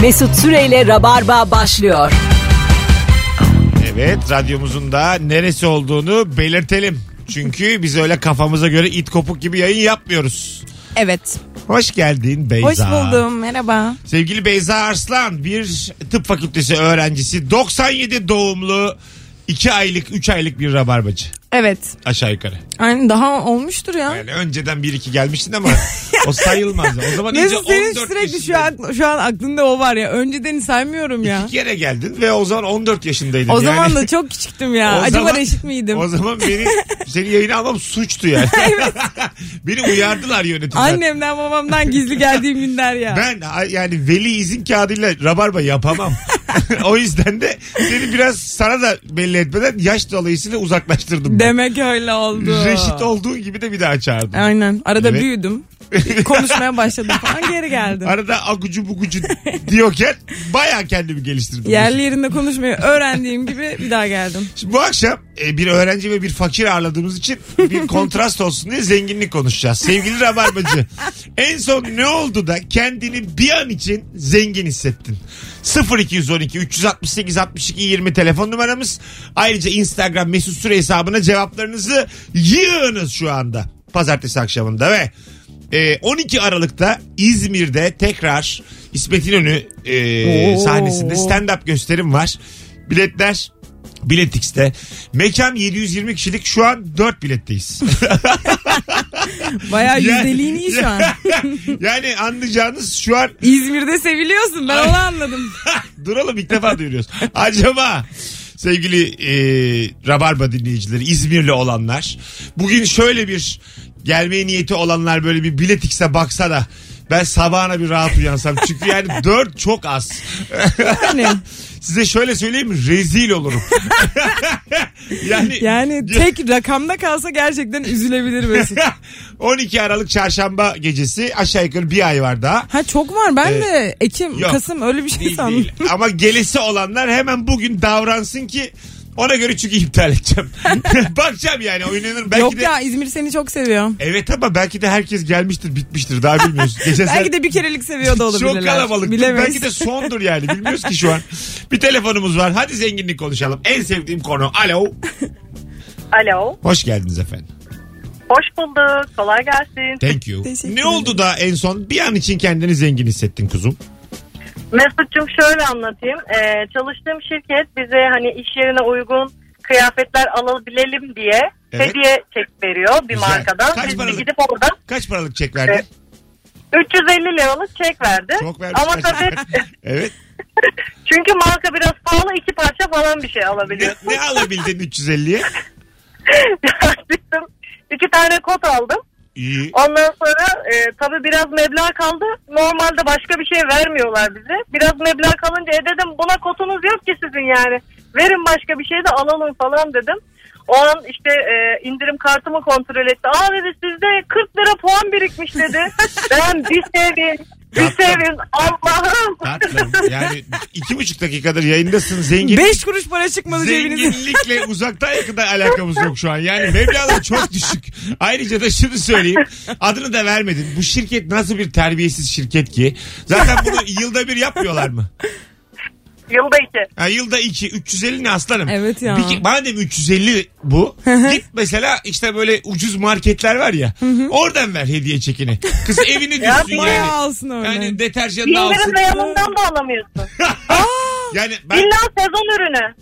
Mesut Süreyle Rabarba başlıyor. Evet radyomuzun da neresi olduğunu belirtelim. Çünkü biz öyle kafamıza göre it kopuk gibi yayın yapmıyoruz. Evet. Hoş geldin Beyza. Hoş buldum. Merhaba. Sevgili Beyza Arslan bir tıp fakültesi öğrencisi 97 doğumlu 2 aylık 3 aylık bir rabarbacı Evet. aşağı yukarı. Yani daha olmuştur ya. Yani önceden 1-2 gelmiştin ama o sayılmaz. O zaman iyice Mesut 14 senin sürekli şu yaşındaydın. an, şu an aklında o var ya. Önceden saymıyorum ya. İki kere geldin ve o zaman 14 yaşındaydın. O yani. zaman da çok küçüktüm ya. O Acaba zaman- reşit miydim? O zaman beni seni yayına almam suçtu yani. beni uyardılar yönetimler. Annemden babamdan gizli geldiğim günler ya. Ben a- yani veli izin kağıdıyla rabarba yapamam. o yüzden de seni biraz sana da belli etmeden yaş dolayısıyla uzaklaştırdım. ben. Demek öyle oldu. Reşit olduğun gibi de bir daha çağırdım. Aynen. Arada Evet. büyüdüm. Konuşmaya başladım falan geri geldim. Arada akucu bukucu diyorken baya kendimi geliştirdim. Yerli yerinde konuşmayı öğrendiğim gibi bir daha geldim. Şimdi bu akşam e, bir öğrenci ve bir fakir ağırladığımız için bir kontrast olsun diye zenginlik konuşacağız. Sevgili Rabarbacı en son ne oldu da kendini bir an için zengin hissettin? 0212 368 62 20 telefon numaramız. Ayrıca Instagram mesut süre hesabına cevaplarınızı yığınız şu anda. Pazartesi akşamında ve e, 12 Aralık'ta İzmir'de tekrar İsmet İnönü e, Oo. sahnesinde stand-up gösterim var. Biletler Biletix'te. Mekan 720 kişilik şu an 4 biletteyiz. Bayağı yüzdeliğin iyi şu an. yani anlayacağınız şu an İzmir'de seviliyorsun ben onu anladım. duralım ilk defa duyuruyoruz. Acaba sevgili e, Rabarba dinleyicileri İzmirli olanlar bugün şöyle bir gelmeye niyeti olanlar böyle bir biletikse baksa da ben sabahına bir rahat uyansam. Çünkü yani 4 çok az. Yani, Size şöyle söyleyeyim mi? rezil olurum. yani, yani tek rakamda kalsa gerçekten üzülebilir Mesut. 12 Aralık çarşamba gecesi aşağı yukarı bir ay var daha. Ha çok var ben de Ekim, yok. Kasım öyle bir şey Değil, sandım. değil. Ama gelesi olanlar hemen bugün davransın ki ona göre çünkü iptal edeceğim. Bakacağım yani oynanır. Belki Yok de... ya İzmir seni çok seviyor. Evet ama belki de herkes gelmiştir bitmiştir daha bilmiyoruz. Gece sen- Belki de bir kerelik seviyor da olabilirler. Çok kalabalık. Bilemeyiz. Belki de sondur yani bilmiyoruz ki şu an. Bir telefonumuz var hadi zenginlik konuşalım. En sevdiğim konu alo. Alo. Hoş geldiniz efendim. Hoş bulduk. Kolay gelsin. Thank you. Teşekkür ne oldu da en son bir an için kendini zengin hissettin kuzum? Mesut'cum şöyle anlatayım. Ee, çalıştığım şirket bize hani iş yerine uygun kıyafetler alabilelim diye Evet. hediye çek veriyor bir Güzel. markadan. Kaç Biz de paralık? gidip orada Kaç paralık çek verdin? Evet. 350 liralık çek verdi. Çok vermiş. Ama kaç- tabii evet. çünkü marka biraz pahalı iki parça falan bir şey Ne, alabiliyorsun. ne alabildin 350'ye? Bizim İki tane kot aldım. İyi. Ondan sonra e, tabii biraz meblağ kaldı. Normalde başka bir şey vermiyorlar bize. Biraz meblağ kalınca e dedim buna kotunuz yok ki sizin yani. Verin başka bir şey de alalım falan dedim. O an işte e, indirim kartımı kontrol etti. Aa dedi sizde 40 lira puan birikmiş dedi. ben bir sevin. Bir Tatlım. sevin. Allah'ım. Tatlım. Yani iki buçuk dakikadır yayındasın. Zengin, Beş kuruş para çıkmadı cebinize. zenginlikle uzaktan yakından alakamız yok şu an. Yani meblağlar çok düşük. Ayrıca da şunu söyleyeyim. Adını da vermedin. Bu şirket nasıl bir terbiyesiz şirket ki? Zaten bunu yılda bir yapmıyorlar mı? Yılda iki. Ha, yılda 2 350 ne aslanım? Evet ya. Bir ke- madem 350 bu git mesela işte böyle ucuz marketler var ya. oradan ver hediye çekini. Kız evini düşsün Bayağı yani. alsın öyle. Yani deterjan da alsın. İndirim reyonundan da alamıyorsun. Yani ben, İlla sezon ürünü.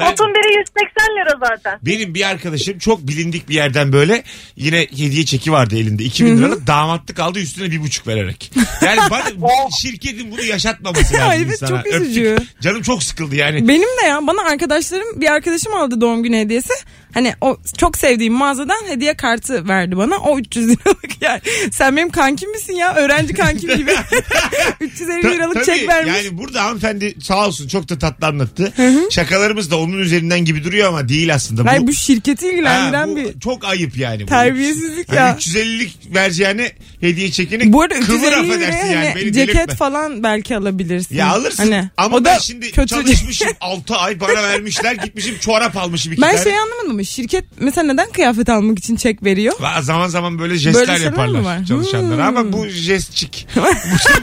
ben- Otun biri 180 lira zaten. benim bir arkadaşım çok bilindik bir yerden böyle yine hediye çeki vardı elinde. 2000 liralık damatlık aldı üstüne bir buçuk vererek. Yani bana şirketin bunu yaşatmaması lazım Evet, insana. çok Öptük. üzücü. Canım çok sıkıldı yani. Benim de ya bana arkadaşlarım bir arkadaşım aldı doğum günü hediyesi. Hani o çok sevdiğim mağazadan hediye kartı verdi bana. O 300 liralık yani. Sen benim kankim misin ya? Öğrenci kankim gibi. 350 Ta- liralık tabii, çek vermiş. Yani burada hanımefendi sağ olsun çok da tatlı anlattı. Şakalarımız da onun üzerinden gibi duruyor ama değil aslında. Hayır bu şirketi Ha, ilgilendiren bu bir Çok ayıp yani. bu. terbiyesizlik Hani ya. 350'lik vereceğine hediye çekini Bu arada kıvır 350 liraya affedersin yani. hani Beni ceket delirtme. falan belki alabilirsin. Ya alırsın Hani, ama o da ben şimdi kötü. çalışmışım 6 ay para vermişler gitmişim çorap almışım iki Ben tane. şey anlamadım ama şirket mesela neden kıyafet almak için çek veriyor? Va- Zaman zaman böyle jestler Böyle şeyler mi yaparlar var? çalışanlara Hmm. ama bu jestçik. bu,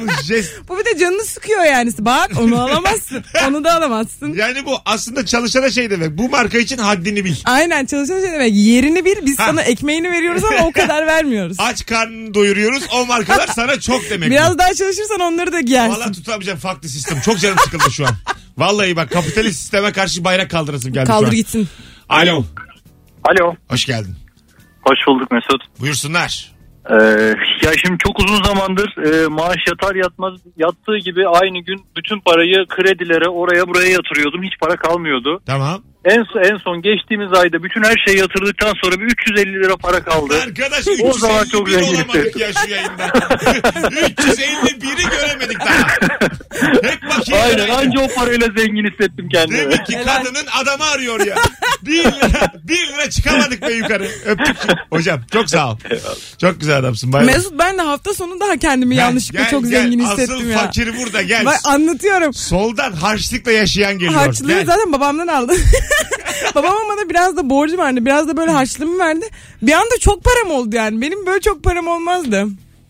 bu jest Bu bir de canını sıkıyor yani. Bak onu alamazsın. onu da alamazsın. yani bu aslında çalışana şey demek. Bu marka için haddini bil. Aynen çalışan şey demek. Yerini bil biz Ha. sana ekmeğini veriyoruz ama o kadar vermiyoruz. Aç karnını doyuruyoruz. O markalar sana çok demek. Biraz daha çalışırsan onları da giyersin. Valla tutamayacağım farklı sistem. Çok canım sıkıldı şu an. Vallahi bak kapitalist sisteme karşı bayrak kaldırasım geldi şu Kaldır an. gitsin. Alo. Alo. Hoş geldin. Hoş bulduk Mesut. Buyursunlar. Ee, ya şimdi çok uzun zamandır e, maaş yatar yatmaz yattığı gibi aynı gün bütün parayı kredilere oraya buraya yatırıyordum. Hiç para kalmıyordu. Tamam. En, en son geçtiğimiz ayda bütün her şeyi yatırdıktan sonra bir 350 lira para kaldı. Arkadaş O zaman 350 çok bin zenginsin. olamadık ya şu yayında. 350 biri göremedik daha. Hep bakayım. Aynen anca o parayla zengin hissettim kendimi. Demek ki Helal. kadının adamı arıyor ya. Bir lira, bir lira çıkamadık be yukarı. Öptük. Hocam çok sağ ol. Çok güzel adamsın. Bay bay. Mesut ben de hafta sonu daha kendimi Gel, yanlışlıkla gel, çok gel. zengin Asıl hissettim ya. fakir burada gel. Bak anlatıyorum. Soldan harçlıkla yaşayan geliyor. Harçlığı Gel. zaten babamdan aldım. Babam bana biraz da borcu verdi. Biraz da böyle harçlığımı verdi. Bir anda çok param oldu yani. Benim böyle çok param olmazdı.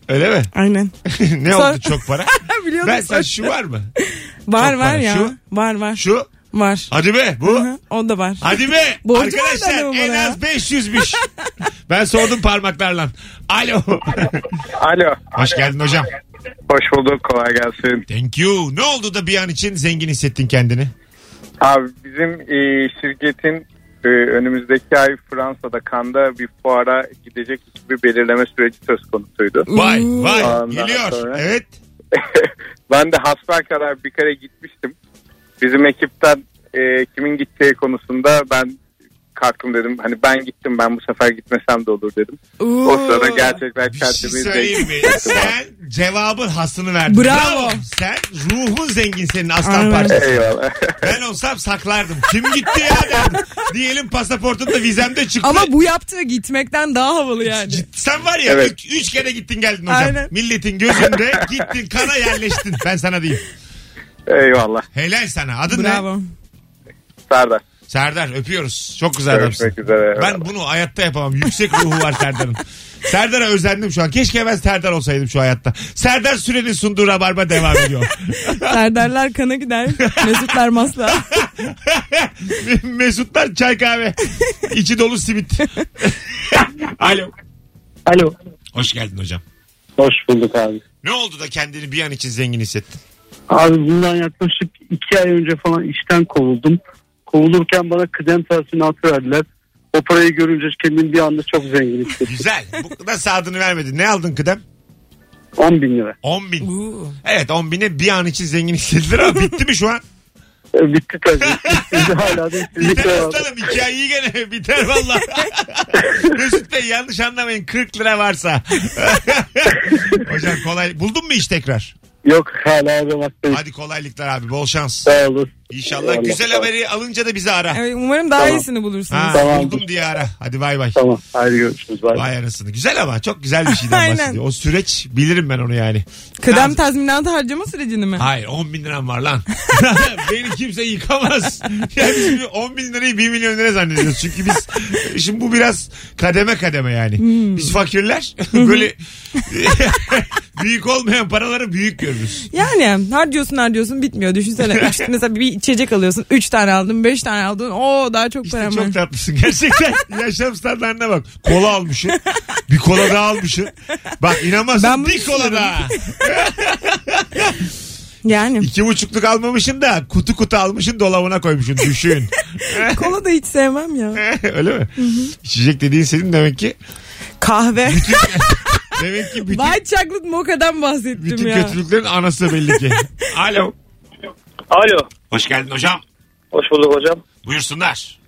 Öyle mi? Aynen. ne Sonra- oldu çok para? Biliyordum ben sen sonra. şu var mı? Var Çok var var. ya. Şu? Var var. Şu. Var. Hadi be bu. Hı, O da var. Hadi be. Borcu vardı Arkadaşlar adamın en bana. az 500'müş. ben sordum parmaklarla. Alo. Alo. Hoş geldin hocam. Hoş bulduk. Kolay gelsin. Thank you. Ne oldu da bir an için zengin hissettin kendini? Abi bizim e, şirketin e, önümüzdeki ay Fransa'da Kanda bir fuara gidecek bir belirleme süreci söz konusuydu. Vay vay Ondan geliyor. sonra. Evet. ben de hasbelkader bir kere gitmiştim. Bizim ekipten e, kimin gideceği konusunda ben kalktım dedim. Hani ben gittim ben bu sefer gitmesem de olur dedim. O Oo. sırada gerçekten Bir şey kendimi söyleyeyim mi? Sen cevabın hasını verdin. Bravo. Sen ruhun zengin senin aslan Aynen. parçası. Eyvallah. Ben olsam saklardım. Kim gitti ya derdim. Diyelim pasaportumda vizemde çıktı. Ama bu yaptığı gitmekten daha havalı yani. Ciddi- Sen var ya Evet. üç, üç kere gittin geldin hocam. Aynen. Milletin gözünde gittin kana yerleştin. Ben sana diyeyim. Eyvallah. Helal sana. Adın ne? Bravo. Serdar. Serdar öpüyoruz. Çok güzel adamsın. Görüşmek üzere. Ben bunu hayatta yapamam. Yüksek ruhu var Serdar'ın. Serdar'a özendim şu an. Keşke ben Serdar olsaydım şu hayatta. Serdar Süren'in sunduğu Rabarba devam ediyor. Serdarlar kana gider. Mesutlar masla. Mesutlar çay kahve. İçi dolu simit. Alo. Alo. Hoş geldin hocam. Hoş bulduk abi. Ne oldu da kendini bir an için zengin hissettin? Abi bundan yaklaşık iki ay önce falan işten kovuldum. Kovulurken bana kıdem tazminatı verdiler. O parayı görünce kendimi bir anda çok zengin hissettim. Güzel. Bu nasıl adını vermedin? Ne aldın kıdem? 10 bin lira. 10 bin. Evet 10 bine bir an için zengin hissedilir ama bitti mi şu an? E, bitti tabii. Şimdi hala da işsizlik Biter devam. aslanım hikayeyi gene biter valla. Mesut Bey yanlış anlamayın 40 lira varsa. Hocam kolay. Buldun mu iş tekrar? Yok hala aramazsayız. Hadi kolaylıklar abi bol şans. Sağ olun. İnşallah Eyvallah. güzel haberi alınca da bizi ara. Evet, umarım daha iyisini bulursunuz. Ha, Tamam. buldum diye ara. Hadi bay bay. Tamam. Haydi görüşürüz. Bay bay. Vay arasını. Güzel ama çok güzel bir şeyden Aynen. bahsediyor. O süreç bilirim ben onu yani. Kıdem tazminatı harcama sürecini mi? Hayır 10 bin liram var lan. Beni kimse yıkamaz. Yani biz bir 10 bin lirayı 1 milyon lira zannediyoruz. Çünkü biz şimdi bu biraz kademe kademe yani. Hmm. Biz fakirler böyle büyük olmayan paraları büyük görürüz. Yani harcıyorsun harcıyorsun bitmiyor. Düşünsene üç, mesela bir içecek alıyorsun. 3 tane aldın 5 tane aldın. Oo daha çok İşte param var. çok tatlısın gerçekten. Yaşam standartına bak. Kola almışsın. Bir kola daha almışsın. Bak inanmazsın Ben bunu bir kola düşünüyorum. daha. Yani İki buçukluk almamışsın da kutu kutu almışsın dolabına koymuşsun. Düşün. kola da hiç sevmem ya. Öyle mi? İçecek dediğin senin demek ki Kahve. demek ki bütün White chocolate mocha'dan bahsettim Bütün ya. kötülüklerin anası belli ki. Alo. Alo. Hoş geldin hocam. Hoş bulduk hocam. Buyursunlar.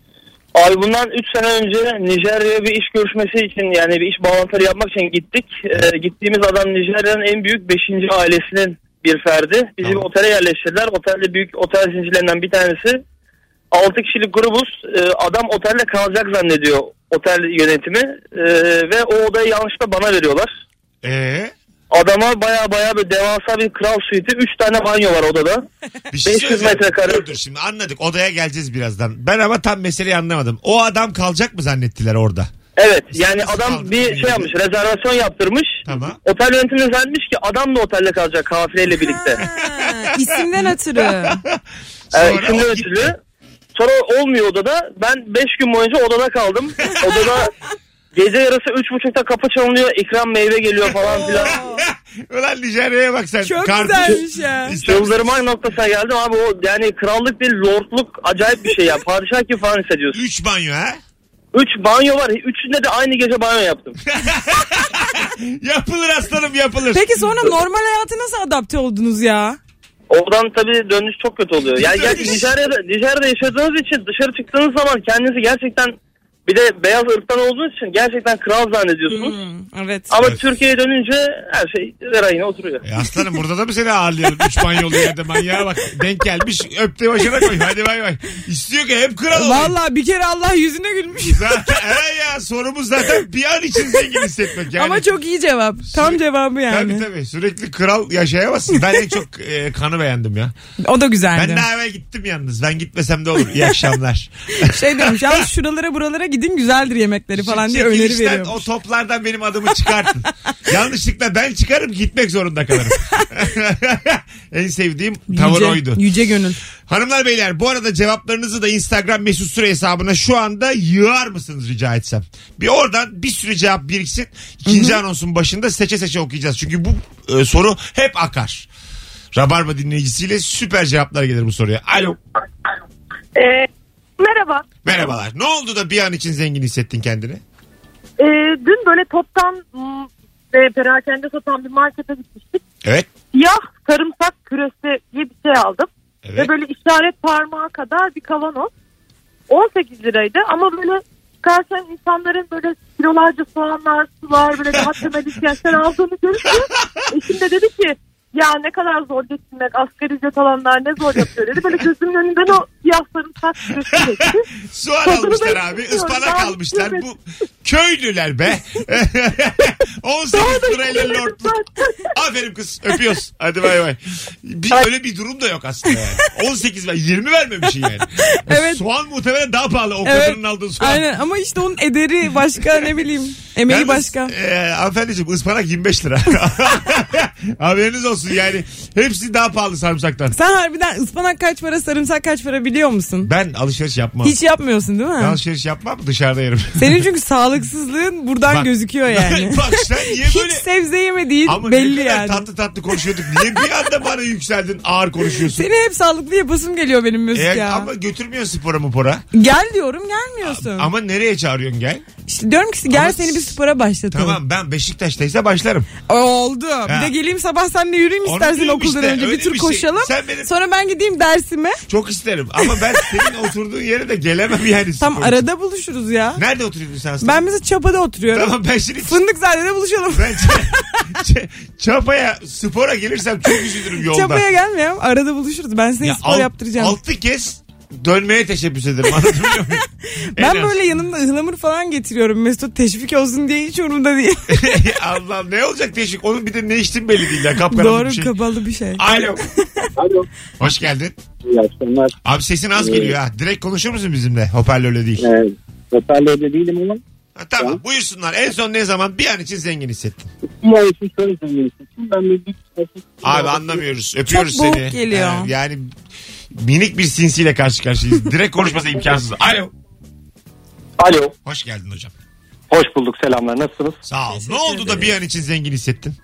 Abi bundan 3 sene önce Nijerya'ya bir iş görüşmesi için yani bir iş bağlantıları yapmak için gittik. Ee, gittiğimiz adam Nijerya'nın en büyük 5. ailesinin bir ferdi. Bizi Tamam. bir otele yerleştirdiler. Otelde büyük otel zincirlerinden bir tanesi. 6 kişilik grubuz. Ee, adam otelde kalacak zannediyor otel yönetimi. Ee, ve o odayı yanlışlıkla bana veriyorlar. Ee, Adama baya baya böyle devasa bir kral suiti. 3 tane banyo var odada. bir şey 500 söyleyeceğim. metrekare. Dur, dur şimdi anladık. Odaya geleceğiz birazdan. Ben ama tam meseleyi anlamadım. O adam kalacak mı zannettiler orada? Evet Biz yani biz kaldık adam bir bir şey yapmış rezervasyon yaptırmış. Tamam. Otel yönetimi zannetmiş ki adam da otelde kalacak kafileyle birlikte. Ha, isimden ötürü. Ee, Sonra isimler o gitti. ötürü. Sonra olmuyor odada. Ben 5 gün boyunca odada kaldım. Odada gece yarısı üç buçukta kapı çalınıyor. ikram meyve geliyor falan filan. Ulan Nijerya'ya bak sen. Çok Kartuş- güzelmiş ya. İster misin? Çıldırma noktasına geldim abi o yani krallık değil lordluk acayip bir şey ya. Padişah gibi falan hissediyorsun. Üç banyo ha? Üç banyo var. Üçünde de aynı gece banyo yaptım. Yapılır aslanım yapılır. Peki sonra normal hayata nasıl adapte oldunuz ya? Oradan tabii dönüş çok kötü oluyor. Yani gerçi Dönüş. Nijerya'da, Nijerya'da yaşadığınız için dışarı çıktığınız zaman kendinizi gerçekten bir de beyaz ırktan olduğunuz için gerçekten kral zannediyorsunuz. Hmm, evet. Ama Evet. Türkiye'ye dönünce her şey verayına oturuyor. E aslanım burada da mı seni ağırlıyorum? Üç banyolu yerde manyağa bak. Denk gelmiş öptü başına koy. Hadi bay bay. İstiyor ki hep kral olayım. Vallahi bir kere Allah yüzüne gülmüş. Zaten, he ya sorumuz zaten bir an için zengin hissetmek yani. Ama çok iyi cevap. Tam cevabı Tabii yani. tabii sürekli kral yaşayamazsın. Ben en çok e, kanı beğendim ya. O da Ben güzeldi. daha evvel gittim yalnız. Ben gitmesem de olur. İyi akşamlar. Şey demiş yalnız şuralara buralara gidin güzeldir yemekleri falan diye öneri Çekilişten, veriyorum. O toplardan benim adımı çıkartın. Yanlışlıkla ben çıkarım gitmek zorunda kalırım. en sevdiğim tavır oydu. Yüce gönül. Hanımlar beyler bu arada cevaplarınızı da Instagram mesut süre hesabına şu anda yığar mısınız rica etsem? Bir oradan bir sürü cevap biriksin. İkinci anonsun başında seçe seçe okuyacağız. Çünkü bu e, soru hep akar. Rabarba dinleyicisiyle süper cevaplar gelir bu soruya. Alo. Ee, merhaba. Merhabalar. Ne oldu da bir an için zengin hissettin kendini? Ee, dün böyle toptan m, e, perakende satan bir markete gitmiştik. Evet. Siyah sarımsak küresi diye bir şey aldım. Evet. Ve böyle işaret parmağı kadar bir kavanoz. 18 liraydı ama böyle çıkarken insanların böyle kilolarca soğanlar, sular böyle daha temel ihtiyaçlar aldığını görünce eşim de dedi ki ya ne kadar zor geçinmek asgari ücret alanlar ne zor yapıyor dedi. Böyle gözümün önünden o siyah sarımsak küresi geçti. Soğan Tadını almışlar ben abi. bilmiyorum. ıspanak Ben almışlar. Bu bilmiyorum. köylüler be. 18 Daha da lirayla bilmiyorum lordluk. Aferin kız. Öpüyoruz. Hadi bay bay. Bir, öyle bir durum da yok aslında yani. 18 ver. 20 vermemiş yani. Evet. Soğan muhtemelen daha pahalı. O Evet. kadının aldığı soğan. Aynen ama işte onun ederi başka ne bileyim. Emeği Yalnız, başka. E, hanımefendiciğim ıspanak 25 lira. Haberiniz olsun yani. Hepsi daha pahalı sarımsaktan. Sen harbiden ıspanak kaç para sarımsak kaç para biliyor musun? Ben alışveriş yapmam. Hiç yapmıyorsun değil mi? Ben alışveriş yapmam dışarıda yerim. Senin çünkü sağlıksızlığın buradan Bak. gözüküyor yani. Bak sen niye Hiç böyle... sebze yemediğin Ama belli ne kadar yani. tatlı tatlı konuşuyorduk. Niye bir anda bana yükseldin ağır konuşuyorsun? Seni hep sağlıklı yapasım geliyor benim Mesut Eğer- ya. E, ama götürmüyor spora mı pora? Gel diyorum gelmiyorsun. Ama nereye çağırıyorsun gel? İşte diyorum ki gel Ama- seni bir spora başlatalım. Tamam ben Beşiktaş'taysa başlarım. Oldu. Bir Ha. de geleyim sabah seninle yürüyeyim Onu istersen diyorum okuldan işte, önce öyle bir tur bir şey. koşalım. Sen benim- Sonra ben gideyim dersime. Çok isterim ama ben senin oturduğun yere de gelemem yani. Tam spor için. arada buluşuruz ya. Nerede oturuyorsun sen? aslında? Ben mesela Çapa'da oturuyorum. Tamam ben şimdi... Fındıkzade'de buluşalım. Ben Ç- Ç- Çapa'ya spora gelirsem çok üzülürüm yolda. Çapa'ya gelmiyorum. Arada buluşuruz. Ben seni Ya spor alt- yaptıracağım. Altı kez dönmeye teşebbüs ederim anlatabiliyor muyum? En ben az. böyle yanımda ıhlamur falan getiriyorum. Mesut teşvik olsun diye hiç umurumda değil. Allah ne olacak teşvik? Onun bir de ne içtin belli değil ya. Kapkaranlık Doğru bir şey. kapalı bir şey. Alo. Alo. Hoş geldin. İyi akşamlar. Abi sesin az geliyor ha. Direkt konuşur musun bizimle? Hoparlörle değil. Ee, Hoparlörde değilim ama Ha, tamam buyursunlar. En son ne zaman bir an için zengin hissettin? bir ay için şöyle zengin hissettim. Ben de bir Abi anlamıyoruz. Öpüyoruz Çok boğuk seni. geliyor. Ha, yani minik bir sinsiyle karşı karşıyayız. Direkt konuşması imkansız. Alo. Alo. Hoş geldin hocam. Hoş bulduk selamlar nasılsınız? Sağ ol. Ne Teşekkür oldu da bir an için zengin hissettin?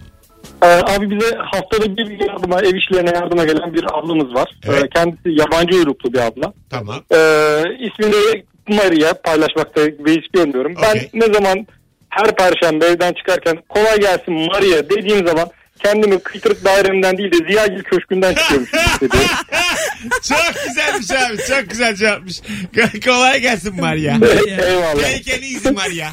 Ee, abi bize haftada bir yardıma, ev işlerine yardıma gelen bir ablamız var. Evet. Ee, kendisi yabancı uyruklu bir abla. Tamam. Ee, ismini Maria paylaşmakta ve hiç görmüyorum. Okey. Ben ne zaman her perşembe evden çıkarken kolay gelsin Maria dediğim zaman kendimi kıytırık dairemden değil de Ziyagil Köşkü'nden çıkıyormuşum dedi. Çok güzelmiş abi. Çok güzel cevapmış. Kolay gelsin Maria. Eyvallah. Take it easy Maria.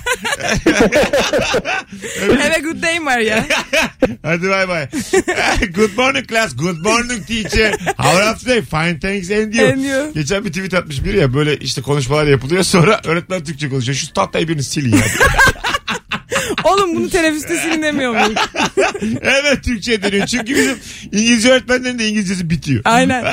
Have a good day Maria. Hadi bay bay. Good morning class. Good morning teacher. How are you today? Fine thanks and you. And you. Geçen bir tweet atmış biri ya böyle işte konuşmalar yapılıyor sonra öğretmen Türkçe konuşuyor. Şu tahtayı birini silin ya. Oğlum bunu teneffüste silinemiyor muyum? evet Türkçe'ye dönüyor. Çünkü bizim İngilizce öğretmenlerin de İngilizcesi bitiyor. Aynen.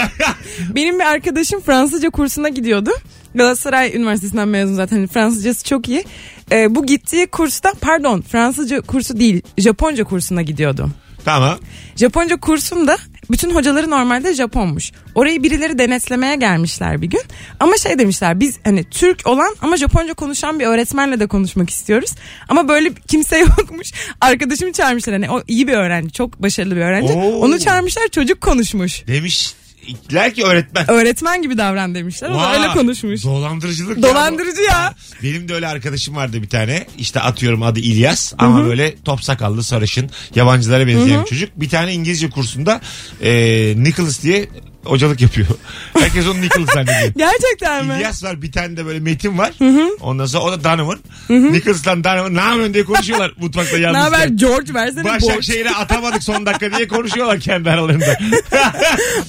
Benim bir arkadaşım Fransızca kursuna gidiyordu. Galatasaray Üniversitesi'nden mezun zaten. Hani Fransızcası çok iyi. Ee, bu gittiği kursta pardon Fransızca kursu değil Japonca kursuna gidiyordu. tamam. Japonca kursunda bütün hocaları normalde Japonmuş. Orayı birileri denetlemeye gelmişler bir gün. Ama şey demişler biz hani Türk olan ama Japonca konuşan bir öğretmenle de konuşmak istiyoruz. Ama böyle kimse yokmuş. Arkadaşımı çağırmışlar hani o iyi bir öğrenci çok başarılı bir öğrenci. Oo. Onu çağırmışlar çocuk konuşmuş. Demişler ki öğretmen. Öğretmen gibi davran demişler. O da Vay, öyle konuşmuş. Dolandırıcılık. ya bu. Dolandırıcı ya. Benim de öyle arkadaşım vardı bir tane. İşte atıyorum adı İlyas ama böyle top sakallı sarışın yabancılara benzeyen bir çocuk. Bir tane İngilizce kursunda e, Nicholas diye hocalık yapıyor. Herkes onu Nicholas zannediyor. Gerçekten mi? İlyas var bir tane de böyle Metin var. Ondan sonra o da Donovan. Nicholas'la Donovan ne yapıyorsun diye konuşuyorlar mutfakta Ne yalnızken. haber George versene borç. Başakşehir'e atamadık son dakika diye konuşuyorlar kendi aralarında.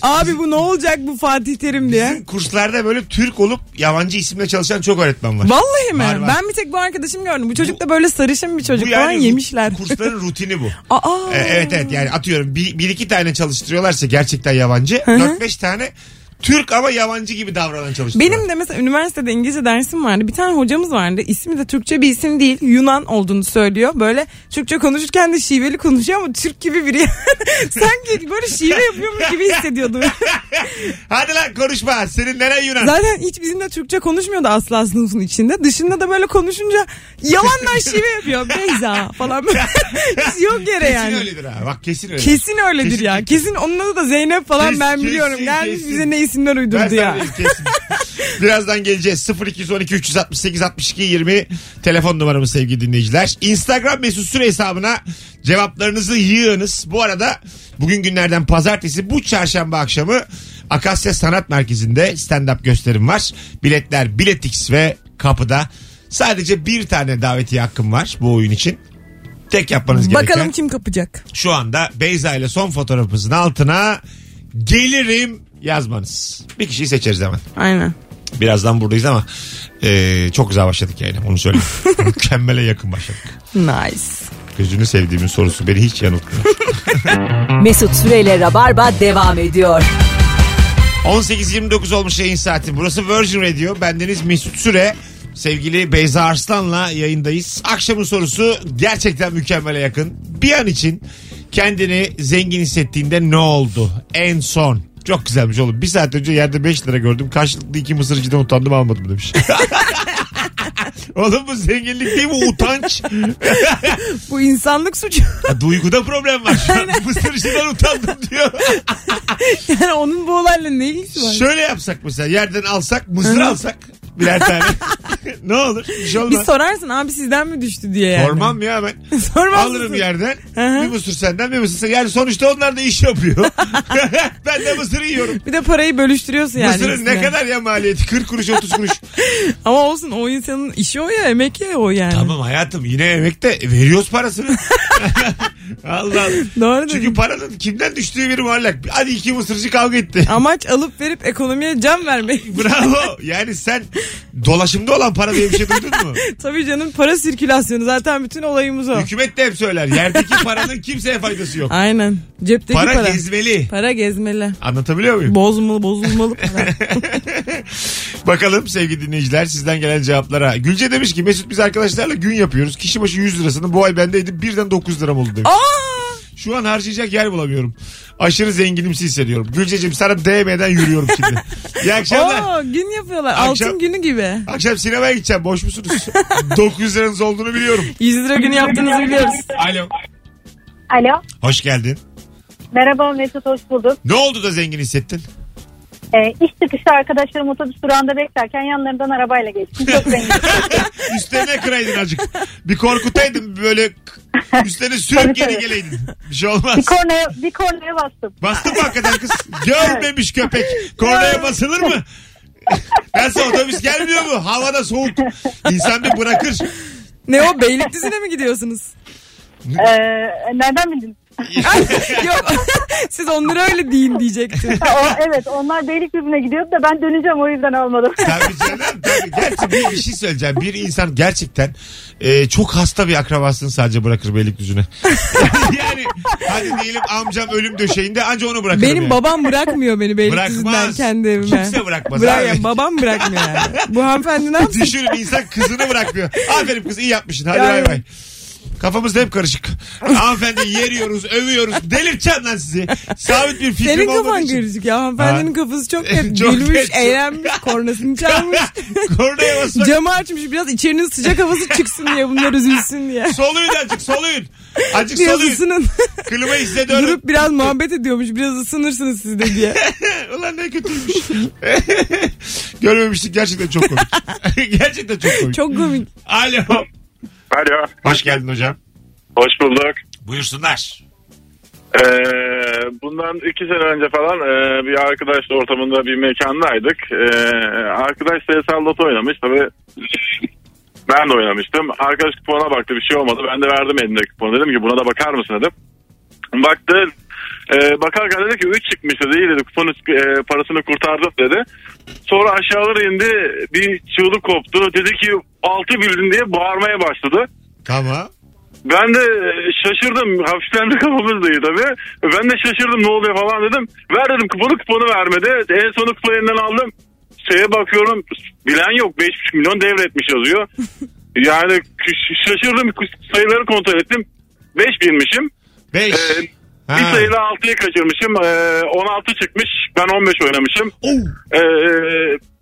Abi bu ne olacak bu Fatih Terim diye. Kurslarda böyle Türk olup yabancı isimle çalışan çok öğretmen var. Vallahi mi? Var, var. Ben bir tek bu arkadaşım gördüm. Bu çocuk da böyle sarışın bir çocuk Bu falan yani yemişler. bu Kursların rutini bu. Aa. Ee, evet evet yani atıyorum bir, bir iki tane çalıştırıyorlarsa gerçekten yabancı. 4-5 tane Türk ama yabancı gibi davranan çalıştırıyorlar. Benim de mesela üniversitede İngilizce dersim vardı. Bir tane hocamız vardı. İsmi de Türkçe bir isim değil. Yunan olduğunu söylüyor. Böyle Türkçe konuşurken de şiveli konuşuyor ama Türk gibi biri. Sanki böyle şive yapıyormuş gibi hissediyordum. Hadi lan konuşma senin neren Yunan? Zaten hiç bizimle Türkçe konuşmuyordu asla sınıfın içinde. Dışında da böyle konuşunca yalandan şive yapıyor. Beyza falan böyle. Hiç Yok yere kesin yani. öyledir ha bak kesin öyledir. Kesin öyledir Kesin, ya. Kesin onun adı da Zeynep falan Kes- ben kesin, biliyorum. Gelmiş kesin. bize ne isimler Ben uydurdu sana ya. dedim, kesin. Birazdan geleceğiz. 0212 368 62 20 telefon numaramız sevgili dinleyiciler. Instagram mesut süre hesabına cevaplarınızı yığınız. Bu arada bugün günlerden pazartesi bu çarşamba akşamı Akasya Sanat Merkezi'nde stand-up gösterim var. Biletler Biletix ve kapıda. Sadece bir tane davetiye hakkım var bu oyun için. Tek yapmanız gereken Bakalım kim kapacak. şu anda Beyza ile son fotoğrafımızın altına gelirim yazmanız. Bir kişiyi seçeriz hemen. Aynen. Birazdan buradayız ama e, çok güzel başladık yani onu söyleyeyim. Mükemmele yakın başladık. Nice. Gözünü sevdiğimin sorusu beni hiç yanıltmıyor. Mesut Süreyle Rabarba devam ediyor. 18.29 olmuş yayın saati. Burası Virgin Radio. Bendeniz Mesut Süre. Sevgili Beyza Arslan'la yayındayız. Akşamın sorusu gerçekten mükemmele yakın. Bir an için kendini zengin hissettiğinde ne oldu? En son. Çok güzelmiş oğlum. Bir saat önce yerde 5 lira gördüm. Karşılıklı iki mısırcıdan utandım almadım demiş. oğlum bu zenginlik değil bu utanç. Bu insanlık suçu. Ha, Duyguda problem var. Şu an mısırcıdan utandım diyor. yani onun bu olayla ne ilgisi var? Şöyle yapsak mesela yerden alsak mısır alsak birer tane. ne olur bir şey Bir olmaz. sorarsın abi sizden mi düştü diye yani. Sormam ya ben. Sormaz Alırım mısın? yerden. hı. bir mısır senden bir mısır senden. Yani sonuçta onlar da iş yapıyor. ben de mısırı yiyorum. Bir de parayı bölüştürüyorsun yani. Mısırın ikisine. ne kadar ya maliyeti? 40 kuruş 30 kuruş. Ama olsun o insanın işi o ya emek ya o yani. tamam hayatım yine emekte veriyoruz parasını. Allah Allah. Doğru Çünkü dedin. paranın kimden düştüğü bir muallak. Hadi iki mısırcı kavga etti. Amaç alıp verip ekonomiye can vermek. Bravo. Yani sen dolaşımda olan para diye bir şey duydun mu? Tabii canım para sirkülasyonu zaten bütün olayımız o. Hükümet de hep söyler. Yerdeki paranın kimseye faydası yok. Aynen. Cepteki Para, para. gezmeli. Para gezmeli. Anlatabiliyor muyum? Bozmalı bozulmalı para. Bakalım sevgili dinleyiciler sizden gelen cevaplara. Gülce demiş ki Mesut biz arkadaşlarla gün yapıyoruz. Kişi başı 100 lirasını bu ay bendeydi birden 9 liram oldu demiş. Aa! Şu an harcayacak yer bulamıyorum. Aşırı zenginimsi hissediyorum. Gülce'cim sana DM'den yürüyorum şimdi. İyi akşamlar. Oo, gün yapıyorlar. Akşam- Altın günü gibi. Akşam sinemaya gideceğim. Boş musunuz? 900 liranız olduğunu biliyorum. 100 lira günü yaptığınızı biliyoruz. Alo. Alo. Hoş geldin. Merhaba Mesut hoş bulduk. Ne oldu da zengin hissettin? Ee, iş çıkışı arkadaşlarım otobüs durağında beklerken yanlarından arabayla geçtim. Çok zengin. Üstlerine kıraydın azıcık. Bir korkutaydın böyle k- Üstlerine sürüp Tabii, geri tabii. geleydin. Bir şey olmaz. Bir kornaya, bir kornaya bastım. Bastın mı hakikaten kız? Görmemiş köpek. Kornaya basılır mı? Nasıl otobüs gelmiyor mu? Havada soğuk. İnsan bir bırakır. Ne o Beylikdüzü'ne mi gidiyorsunuz? Ee, nereden bildin? Yok siz onlara öyle deyin diyecektim. Ha, o, evet onlar Beylikdüzü'ne gidiyordu da ben döneceğim o yüzden almadım. Tabii canım. Tabii. Gerçi bir, bir şey söyleyeceğim. Bir insan gerçekten e, çok hasta bir akrabasını sadece bırakır Beylikdüzü'ne. yani hadi diyelim amcam ölüm döşeğinde anca onu bırakırım. Benim yani. babam bırakmıyor beni Beylikdüzü'nden Bırakmaz. kendi evime. Kimse bırakmaz Bırak- abi. yani babam bırakmıyor yani. Bu hanımefendi ne yapsın? Düşünün insan kızını bırakmıyor. Aferin kız iyi yapmışsın. Hadi Yani. bay bay. Kafamız da hep karışık. Hanımefendi yeriyoruz, övüyoruz. Delirteceğim lan sizi. Sabit bir fikrim Senin olmadığı kafan için. gözük ya. Hanımefendinin kafası çok net. Çok Gülmüş, net. eğlenmiş, kornasını çalmış. Kornaya basmak. Camı açmış biraz içerinin sıcak havası çıksın diye bunlar üzülsün diye. Soluyun azıcık soluyun. Azıcık Biraz soluyun. ısının. Klimayı size dönün. Durup biraz muhabbet ediyormuş. Biraz ısınırsınız siz de diye. Ulan ne kötüymüş. Görmemiştik gerçekten çok komik. gerçekten çok komik. Çok komik. Alo. Alo. Hoş geldin hocam. Hoş bulduk. Buyursunlar. Ee, bundan iki sene önce falan e, bir arkadaş ortamında bir mekandaydık. Ee, arkadaş sayısal loto oynamış. Tabii ben de oynamıştım. Arkadaş kupona baktı bir şey olmadı. Ben de verdim elindeki kuponu. Dedim ki buna da bakar mısın dedim. Baktı e, bakarken dedi ki 3 çıkmış dedi. İyi dedi kupon üç- e, parasını kurtardım dedi. Sonra aşağılara indi bir çığlık koptu. Dedi ki 6 bildin diye bağırmaya başladı. Tamam. Ben de e, şaşırdım. Hafiften de kafamız değil tabii. Ben de şaşırdım ne oluyor falan dedim. Ver dedim kuponu kuponu vermedi. En sonu kupayı elinden aldım. Şeye bakıyorum bilen yok 5,5 milyon devretmiş yazıyor. Yani ş- şaşırdım sayıları kontrol ettim. 5 bilmişim. Beş. Ee, Ha. Bir sayıyla 6'ya kaçırmışım. Ee, 16 çıkmış. Ben 15 oynamışım. Oo. Ee,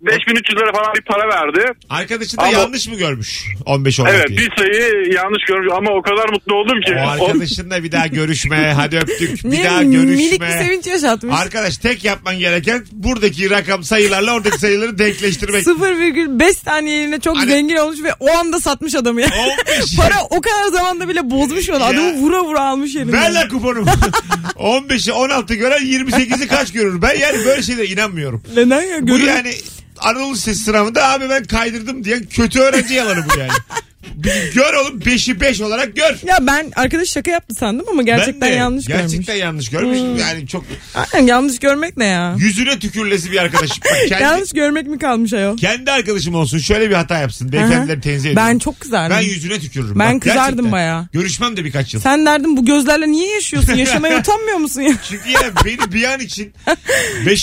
5300 lira falan bir para verdi. Arkadaşın da Ama- yanlış mı görmüş? 15 olmak Evet diye. bir sayıyı yanlış görmüş ama o kadar mutlu oldum ki. O arkadaşınla bir daha görüşme. Hadi öptük. Bir Ne daha minik bir görüşme. sevinç yaşatmış. Arkadaş tek yapman gereken buradaki rakam sayılarla oradaki sayıları denkleştirmek. 0,5 saniyeliğine çok Hani- zengin olmuş ve o anda satmış adamı ya. 15. Para o kadar zamanda bile bozmuş onu. Ya. Adamı vura vura almış elinden. Ver lan kuponumu. 15'i 16 gören 28'i kaç görür? Ben yani böyle şeylere inanmıyorum. Neden ya? Bu Görün. yani Anadolu Lisesi sınavında abi ben kaydırdım diyen kötü öğrenci yalanı bu yani. Bir gör oğlum 5'i 5 olarak gör. Ya ben arkadaş şaka yaptı sandım ama gerçekten Ben de yanlış Gerçekten görmüş. Hmm. yanlış görmüş. Yani çok Aynen, yanlış görmek ne ya? yüzüne tükürlesi bir arkadaşım. Bak Kendi, Yanlış görmek mi kalmış ayol? kendi arkadaşım olsun şöyle bir hata yapsın. Beyefendileri tenzih ediyorum. Ben çok kızardım. Ben yüzüne tükürürüm. Ben Bak, kızardım gerçekten. bayağı. Görüşmem de birkaç yıl. Sen derdin bu gözlerle niye yaşıyorsun? Yaşamaya utanmıyor musun ya? Çünkü ya beni bir an için 5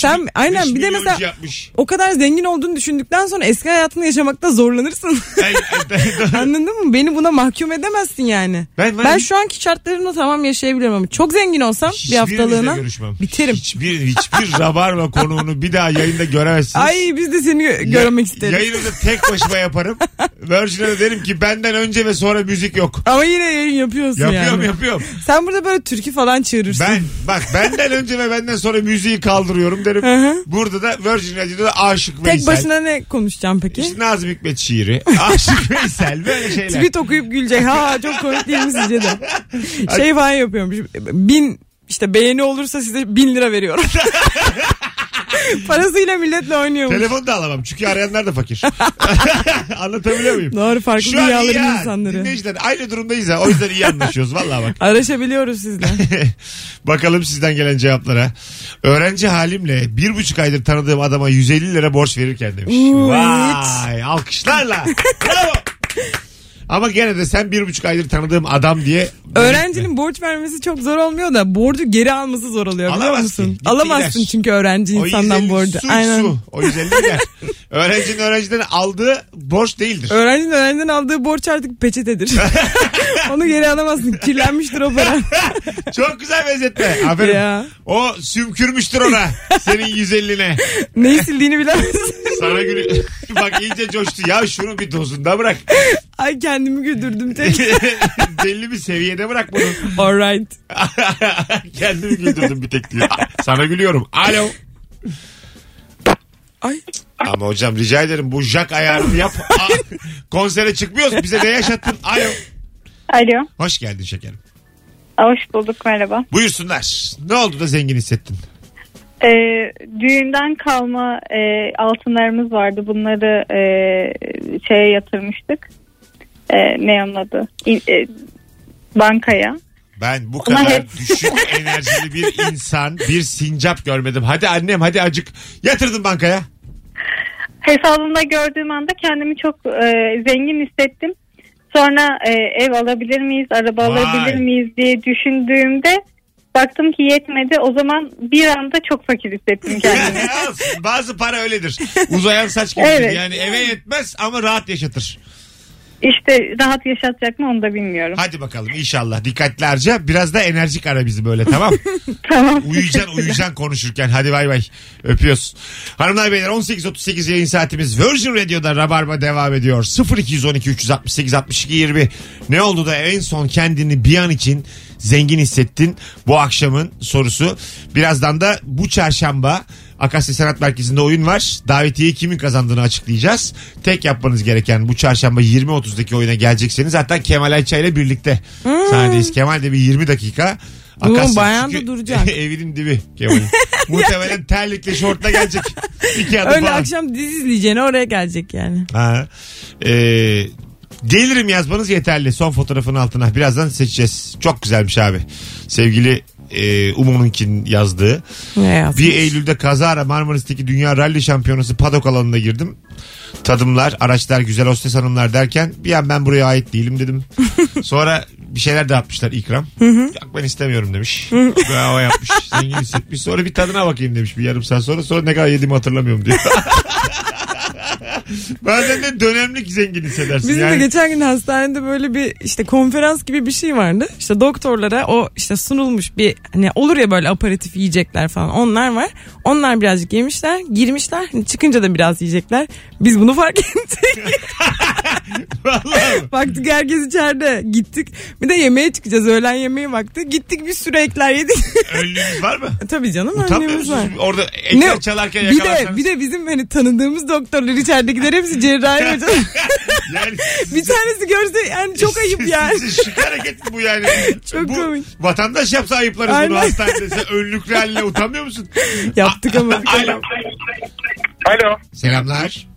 Sen- aynen, bir de mesela- yapmış. O kadar zengin olduğunu düşündükten sonra eski hayatını yaşamakta zorlanırsın. Ay, ay, ben- Anladın mı? Beni buna mahkum edemezsin yani. Ben- Ben, ben- şu anki şartlarımla tamam yaşayabilirim ama çok zengin olsam bir Hiçbirinizle haftalığına görüşmem. biterim. Hiçbir, hiçbir rabarba konuğunu bir daha yayında göremezsiniz. Ay biz de seni gö- görmek isteriz. Yayınımda tek başıma yaparım. Virgin'e de derim ki benden önce ve sonra müzik yok. Ama yine yayın yapıyorsun Yapıyorum yani. yapıyorum. Sen burada böyle türkü falan çığırırsın. Ben bak benden önce ve benden sonra müziği kaldırıyorum derim. Hı hı. Burada da Virgin Radio'da da Aşık Tek Veysel. başına ne konuşacağım peki? İşte Nazım Hikmet şiiri. Aşık Veysel böyle şeyler. tweet okuyup gülecek. Ha ha, çok komik değil mi sizce de? Şey falan yapıyormuş. Bin işte beğeni olursa size bin lira veriyorum. Parasıyla milletle oynuyormuş. Telefon da alamam çünkü arayanlar da fakir. Anlatabiliyor muyum? Doğru farklı Şu an iyi dünyaların ha. insanları. Dinleyiciler aynı durumdayız ha. O yüzden iyi anlaşıyoruz. Vallahi bak. Araşabiliyoruz sizle. Bakalım sizden gelen cevaplara. Öğrenci halimle bir buçuk aydır tanıdığım adama 150 lira borç verirken demiş. Oo, Vay alkışlarla. Bravo. Ama gene de sen bir buçuk aydır tanıdığım adam diye. Öğrencinin borç vermesi çok zor olmuyor da borcu geri alması zor oluyor biliyor Alamazsın. musun? Gitti Alamazsın gider. çünkü öğrenci O insandan 150 borcu. Su, Aynen. su. O 150 lira. Öğrencinin öğrenciden aldığı borç değildir. Öğrencinin öğrenciden aldığı borç artık peçetedir. Onu geri alamazsın. Kirlenmiştir o para. Çok güzel benzetme. Aferin. Ya. O sümkürmüştür ona. Senin 150'ne. Neyi sildiğini bilemezsin. Sana günü. Bak iyice coştu. Ya şunu bir dozunda bırak. Ay kendimi güldürdüm tek. Belli bir seviyede bırak bunu. Alright. Kendimi güldürdüm bir tek diyor. Sana gülüyorum. Alo. Ay. Ama hocam rica ederim bu jak ayarını yap. Aa, konsere çıkmıyoruz. Bize ne yaşattın? Alo. Alo. Hoş geldin şekerim. Hoş bulduk merhaba. Buyursunlar. Ne oldu da zengin hissettin? Ee, düğünden kalma e, altınlarımız vardı. Bunları e, şeye yatırmıştık. E, ne onun adı? İ- e, bankaya. Ben bu Ama kadar hep- düşük enerjili bir insan, bir sincap görmedim. Hadi annem hadi acık yatırdım bankaya. Hesabımda gördüğüm anda kendimi çok e, zengin hissettim. Sonra e, ev alabilir miyiz, araba Vay. alabilir miyiz diye düşündüğümde baktım ki yetmedi. O zaman bir anda çok fakir hissettim kendimi. Olsun, Bazı para öyledir. Uzayan saç gibidir. Evet. Yani eve yetmez ama rahat yaşatır. işte rahat yaşatacak mı onu da bilmiyorum. Hadi bakalım inşallah dikkatli harca. Biraz da enerjik ara bizi böyle tamam. Tamam. Uyuyacaksın uyuyacaksın konuşurken. Hadi bay bay. Öpüyoruz. Hanımlar beyler 18.38 yayın saatimiz Virgin Radio'da Rabarba devam ediyor. 0212 368 62 20. Ne oldu da en son kendini bir an için zengin hissettin? Bu akşamın sorusu. Birazdan da bu çarşamba Akasya Sanat Merkezi'nde oyun var. Davetiye kimin kazandığını açıklayacağız. Tek yapmanız gereken bu çarşamba 20.30'daki oyuna gelecekseniz zaten Kemal Ayça ile birlikte sahnedeyiz. Kemal de bir 20 dakika Dur, Akasya Hmm. bayan da çünkü duracak. evinin dibi Kemal'in. Muhtemelen terlikle şortla gelecek. İki adım Öyle falan. akşam dizi izleyeceğine oraya gelecek yani. Ha. Ee, gelirim yazmanız yeterli. Son fotoğrafın altına. Birazdan seçeceğiz. Çok güzelmiş abi. Sevgili e, Umum'unkin yazdığı. Ne yazmış? 1 Eylül'de kazara Marmaris'teki Dünya Rally Şampiyonası padok alanına girdim. Tadımlar, araçlar, güzel hostes hanımlar derken bir an ben buraya ait değilim dedim. Sonra bir şeyler dağıtmışlar ikram. Yok ben istemiyorum demiş. Bravo yapmış. Zengin hissetmiş. Sonra bir tadına bakayım demiş bir yarım saat sonra. Sonra ne kadar yediğimi hatırlamıyorum diyor. Bazen de dönemlik zengin hissedersin. Bizim yani. de geçen gün hastanede böyle bir işte konferans gibi bir şey vardı. İşte doktorlara o işte sunulmuş bir hani olur ya böyle aparatif yiyecekler falan onlar var. Onlar birazcık yemişler, girmişler. Hani çıkınca da biraz yiyecekler. Biz bunu fark ettik. Vallahi. Baktık herkes içeride. Gittik. Bir de yemeğe çıkacağız. Öğlen yemeği vakti. Gittik bir sürü ekler yedik. Önlüğünüz var mı? Tabii canım Utanmıyor önlüğümüz musunuz? var. Orada ekler Ne- çalarken bir de, yakalarsanız. bir de bizim hani tanıdığımız doktorlar içeridekiler hepsi cerrahi hocam. Yani bir tanesi görse yani çok ayıp yani. Sizin şık hareket mi bu yani? Çok bu, komik. Vatandaş yapsa ayıplarız Aynen. bunu hastanede. Sen önlüklü haline utanmıyor musun? Yaptık ama. Alo. Alo. Selamlar.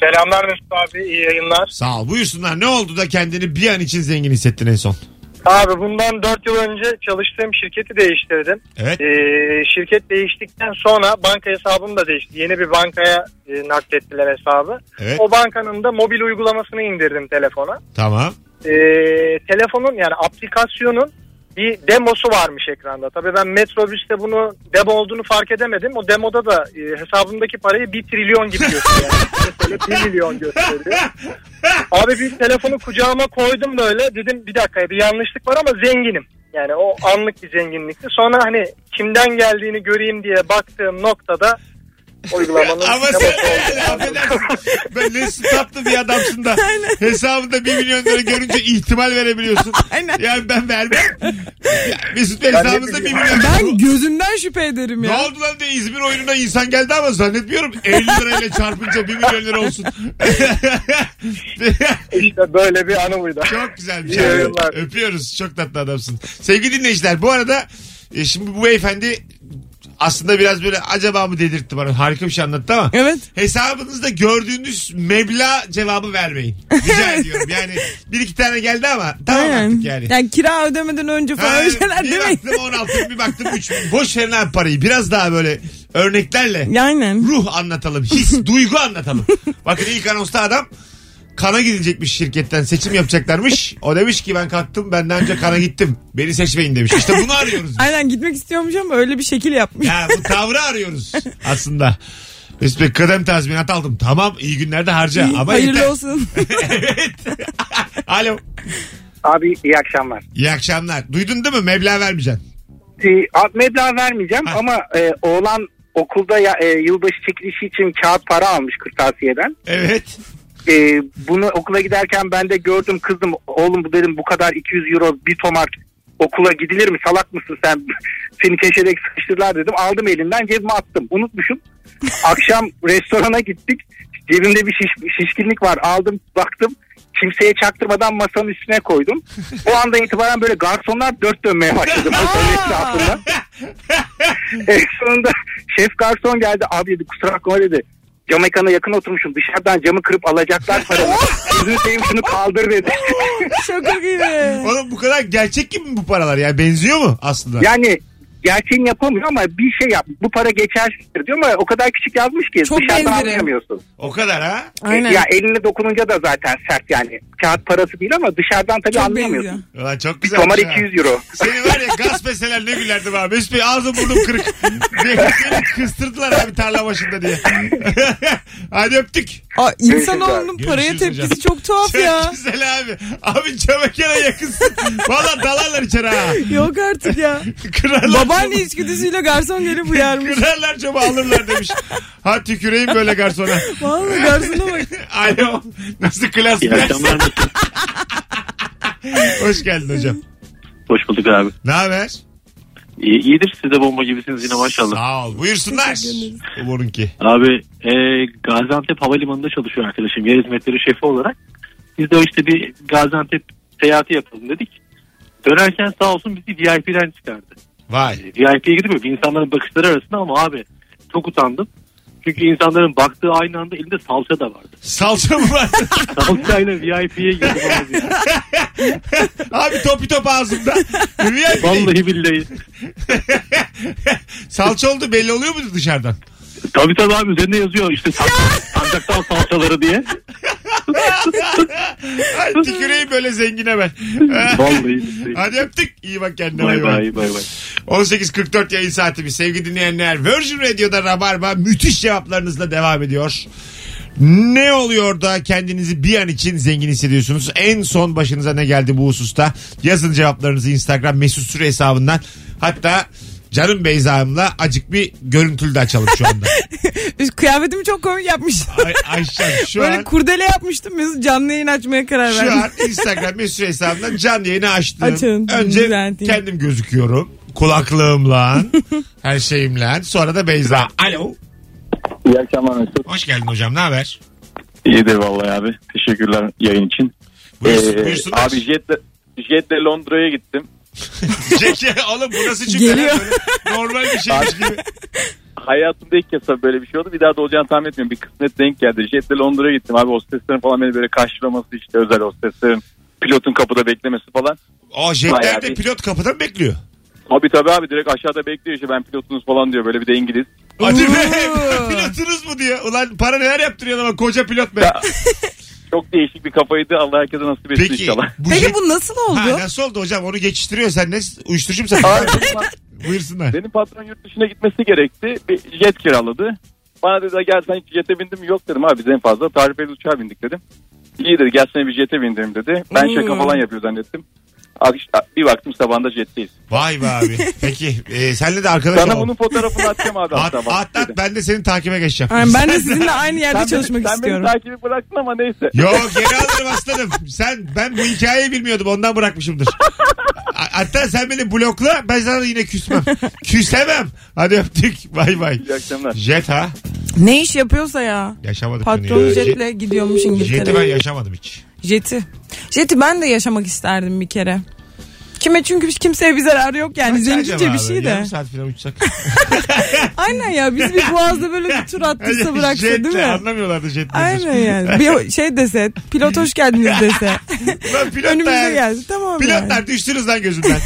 Selamlar Mesut abi. iyi yayınlar. Sağ ol. Buyursunlar. Ne oldu da kendini bir an için zengin hissettin en son? Abi bundan 4 yıl önce çalıştığım şirketi değiştirdim. Evet. Ee, şirket değiştikten sonra banka hesabım da değişti. Yeni bir bankaya e, naklettiler hesabı. Evet. O bankanın da mobil uygulamasını indirdim telefona. Tamam. Ee, telefonun yani aplikasyonun bir demosu varmış ekranda. Tabii ben Metrobüs'te bunu demo olduğunu fark edemedim. O demoda da e, hesabımdaki parayı 1 trilyon gibi gösteriyor. Yani. 1 milyon gösteriyor. Abi bir telefonu kucağıma koydum böyle. Dedim bir dakika bir yanlışlık var ama zenginim. Yani o anlık bir zenginlikti. Sonra hani kimden geldiğini göreyim diye baktığım noktada uygulamanın Ama demosu sen oldu. yani affedersin. Ben Mesut tatlı bir adamsın da hesabında 1 milyon lira görünce ihtimal verebiliyorsun. Aynen. Yani ben vermem. Ya Mesut Bey Ben de hesabında 1 bilmiyorum. Ben milyon lira. gözümden şüphe ederim Ne ya. oldu lan diye İzmir oyununa insan geldi ama zannetmiyorum 50 lirayla çarpınca 1 milyon lira olsun. İşte böyle bir anı buydu. Çok güzelmiş. İyi abi. yayınlar. Öpüyoruz. Çok tatlı adamsın. Sevgili dinleyiciler bu arada e, şimdi bu beyefendi aslında biraz böyle acaba mı dedirtti bana. Harika bir şey anlattı ama. Evet. Hesabınızda gördüğünüz meblağ cevabı vermeyin. Rica ediyorum. Yani bir iki tane geldi ama tamam Aynen. artık yani. Yani kira ödemeden önce falan Ha, öyle şeyler bir demeyin. baktım 16 bir baktım 3 boş verin abi parayı biraz daha böyle örneklerle Aynen. ruh anlatalım his duygu anlatalım bakın ilk anonsta adam kana gidilecekmiş şirketten seçim yapacaklarmış o demiş ki ben kalktım benden önce kana gittim beni seçmeyin demiş İşte bunu arıyoruz biz. Aynen gitmek istiyormuş ama öyle bir şekil yapmış. ya bu tavrı arıyoruz aslında Mesut Bey kıdem tazminat aldım tamam iyi günlerde harca ama Hayırlı yeter. olsun. alo Abi iyi akşamlar. iyi akşamlar duydun değil mi meblağ vermeyeceksin Ee, ad- meblağ vermeyeceğim Ha. ama e, oğlan okulda ya, e, yılbaşı çekilişi için kağıt para almış kırtasiyeden. evet Ee, bunu okula giderken ben de gördüm kızım oğlum bu dedim bu kadar 200 euro bir tomar okula gidilir mi salak mısın sen seni keşedek sıkıştırdılar dedim aldım elinden cebime attım unutmuşum akşam restorana gittik cebimde bir şiş- şişkinlik var aldım baktım Kimseye çaktırmadan masanın üstüne koydum. O anda itibaren böyle garsonlar dört dönmeye başladı masanın etrafında. en sonunda şef garson geldi. Abi dedi kusura bakma dedi. Jamaika'na yakın oturmuşum. Dışarıdan camı kırıp alacaklar paramı. Yüzünü seveyim şunu kaldır dedi. Şaka gibi. Oğlum bu kadar gerçek gibi mi bu paralar ya? Benziyor mu aslında? Yani gerçeğini yapamıyor ama bir şey yap. Bu para geçersizdir diyor ama o kadar küçük yazmış ki Çok dışarıdan benzerim. anlayamıyorsun. O kadar ha? Aynen. E, Ya eline dokununca da zaten sert yani. Kağıt parası değil ama dışarıdan tabii Çok anlayamıyorsun. benziyor. Ulan çok Bir güzel. tomar 200 euro. Seni var ya gasp etseler ne gülerdim abi. Mesut Bey ağzım burnum kırık. Beni seni kıstırdılar abi tarla başında diye. Hadi öptük. Aa, insanoğlunun Görüşürüz paraya hocam. Şey- tepkisi çok tuhaf Çok ya. güzel abi. Abi çabakana yakınsın. Valla dalarlar içeri ha. Yok artık ya. Kırarlar. Babaanne içgüdüsüyle garson gelip uyarmış. Kırarlar çaba alırlar demiş. Ha tüküreyim böyle garsona. Vallahi garsona bak. Alo. Nasıl klas İyi klas? akşamlar Mesut. Hoş geldin hocam. Hoş bulduk abi. Ne haber? İyi, iyidir siz de bomba gibisiniz yine maşallah. Sağ ol. Buyursunlar. Teşekkür Umurun ki. Abi e, Gaziantep Havalimanı'nda çalışıyor arkadaşım yer hizmetleri şefi olarak. Biz de işte bir Gaziantep seyahati yapalım dedik. Dönerken sağ olsun bizi VIP'den çıkardı. Vay. VIP'ye gidip mi? insanların bakışları arasında ama abi çok utandım. Çünkü insanların baktığı aynı anda elinde salça da vardı. Salça mı var? Salçayla VIP'ye girdim abi. Abi topi top ağzımda. Vallahi billahi. Salça oldu belli oluyor mu dışarıdan? Tabii tabii abi üzerinde yazıyor işte sancaktan salçaları diye. Ay, tüküreyim böyle zengine ben. Vallahi billahi. Hadi öptük. İyi bak kendine. Bay Bay bay. bay bay bay. 18.44 yayın saatimiz. Sevgili dinleyenler Virgin Radio'da Rabarba müthiş cevaplarınızla devam ediyor. Ne oluyor da kendinizi bir an için zengin hissediyorsunuz? En son başınıza ne geldi bu hususta? Yazın cevaplarınızı Instagram mesut süre hesabından. Hatta Canım Beyza'mla acık bir görüntülü de açalım şu anda. Kıyafetimi çok komik yapmıştım. Ay, Ayşem şu Böyle an... kurdele yapmıştım. Mesut canlı yayın açmaya karar Şu verdim. an Instagram mesut Süre hesabından canlı yayını açtım. Açın, Önce düzelteyim. kendim gözüküyorum. Kulaklığımla, her şeyimle. Sonra da Beyza. Alo. İyi akşamlar Mesut. Hoş geldin hocam. Ne haber? İyidir vallahi abi. Teşekkürler yayın için. Buyursun, Ee, buyursunlar. abi jetle, jetle Londra'ya gittim. Ceki, oğlum bu nasıl cümle? Geliyor. Böyle Normal bir şeymiş gibi. Hayatımda ilk kez tabii böyle bir şey oldu. Bir daha da olacağını tahmin etmiyorum. Bir kısmet denk geldi. Jetle Londra'ya gittim abi. Hosteslerin falan beni böyle karşılaması işte özel hosteslerin. Pilotun kapıda beklemesi falan. O jetler Bayağı de bir- pilot kapıda mı bekliyor? Abi tabii abi direkt aşağıda bekliyor işte ben pilotunuz falan diyor. Böyle bir de İngiliz. Hadi be Oo. pilotunuz mu diyor. Ulan para neler yaptırıyor ama koca pilot be. Ya, Çok değişik bir kafaydı. Allah herkese nasip etsin Peki inşallah. bu Peki jet... bu nasıl Ha, oldu? nasıl oldu hocam onu geçiştiriyor sen ne uyuşturucu mu sen? Abi, benim pat- Buyursunlar. benim patron yurt dışına gitmesi gerekti. Bir jet kiraladı. Bana dedi gel sen hiç jete bindim mi?" yok dedim abi biz en fazla tarifeli uçağa bindik dedim. İyi dedi gel seni bir jete bindireyim dedi. Ben şaka Hmm. falan yapıyor zannettim. Ak- Bir baktım sabahında jetteyiz. Vay be abi. Peki e, senle de arkadaş Sana ol. bunun fotoğrafını atacağım abi. At, hatta bak at, at dedi. ben de seni takibe geçeceğim. Yani ben de sizinle aynı yerde Sen beni- çalışmak istiyorum. Sen beni takibi bıraktın ama neyse. Yok geri alırım aslanım. Sen ben bu hikayeyi bilmiyordum ondan bırakmışımdır. A- Hatta sen beni blokla ben sana yine küsmem. Küsemem. Hadi öptük. Bay bay. İyi akşamlar. Jet ha. Ne iş yapıyorsa ya. Yaşamadık Patron bunu ya. jetle gidiyormuş Jet- Jet'i ben İngiltere'ye. yaşamadım hiç. Jeti. Jeti ben de yaşamak isterdim bir kere. Kime çünkü biz- kimseye bir zararı yok yani. Zencice bir şey de. Yarım saat falan uçsak. Aynen ya biz bir boğazda böyle bir tur attıysa bıraksa Jetle, değil mi? Anlamıyorlardı jet nedir. Aynen yani. Bir şey dese pilot hoş geldiniz dese. Lan pilot da Önümüze yani. geldi tamam yani. Pilotlar düştünüz lan gözümden.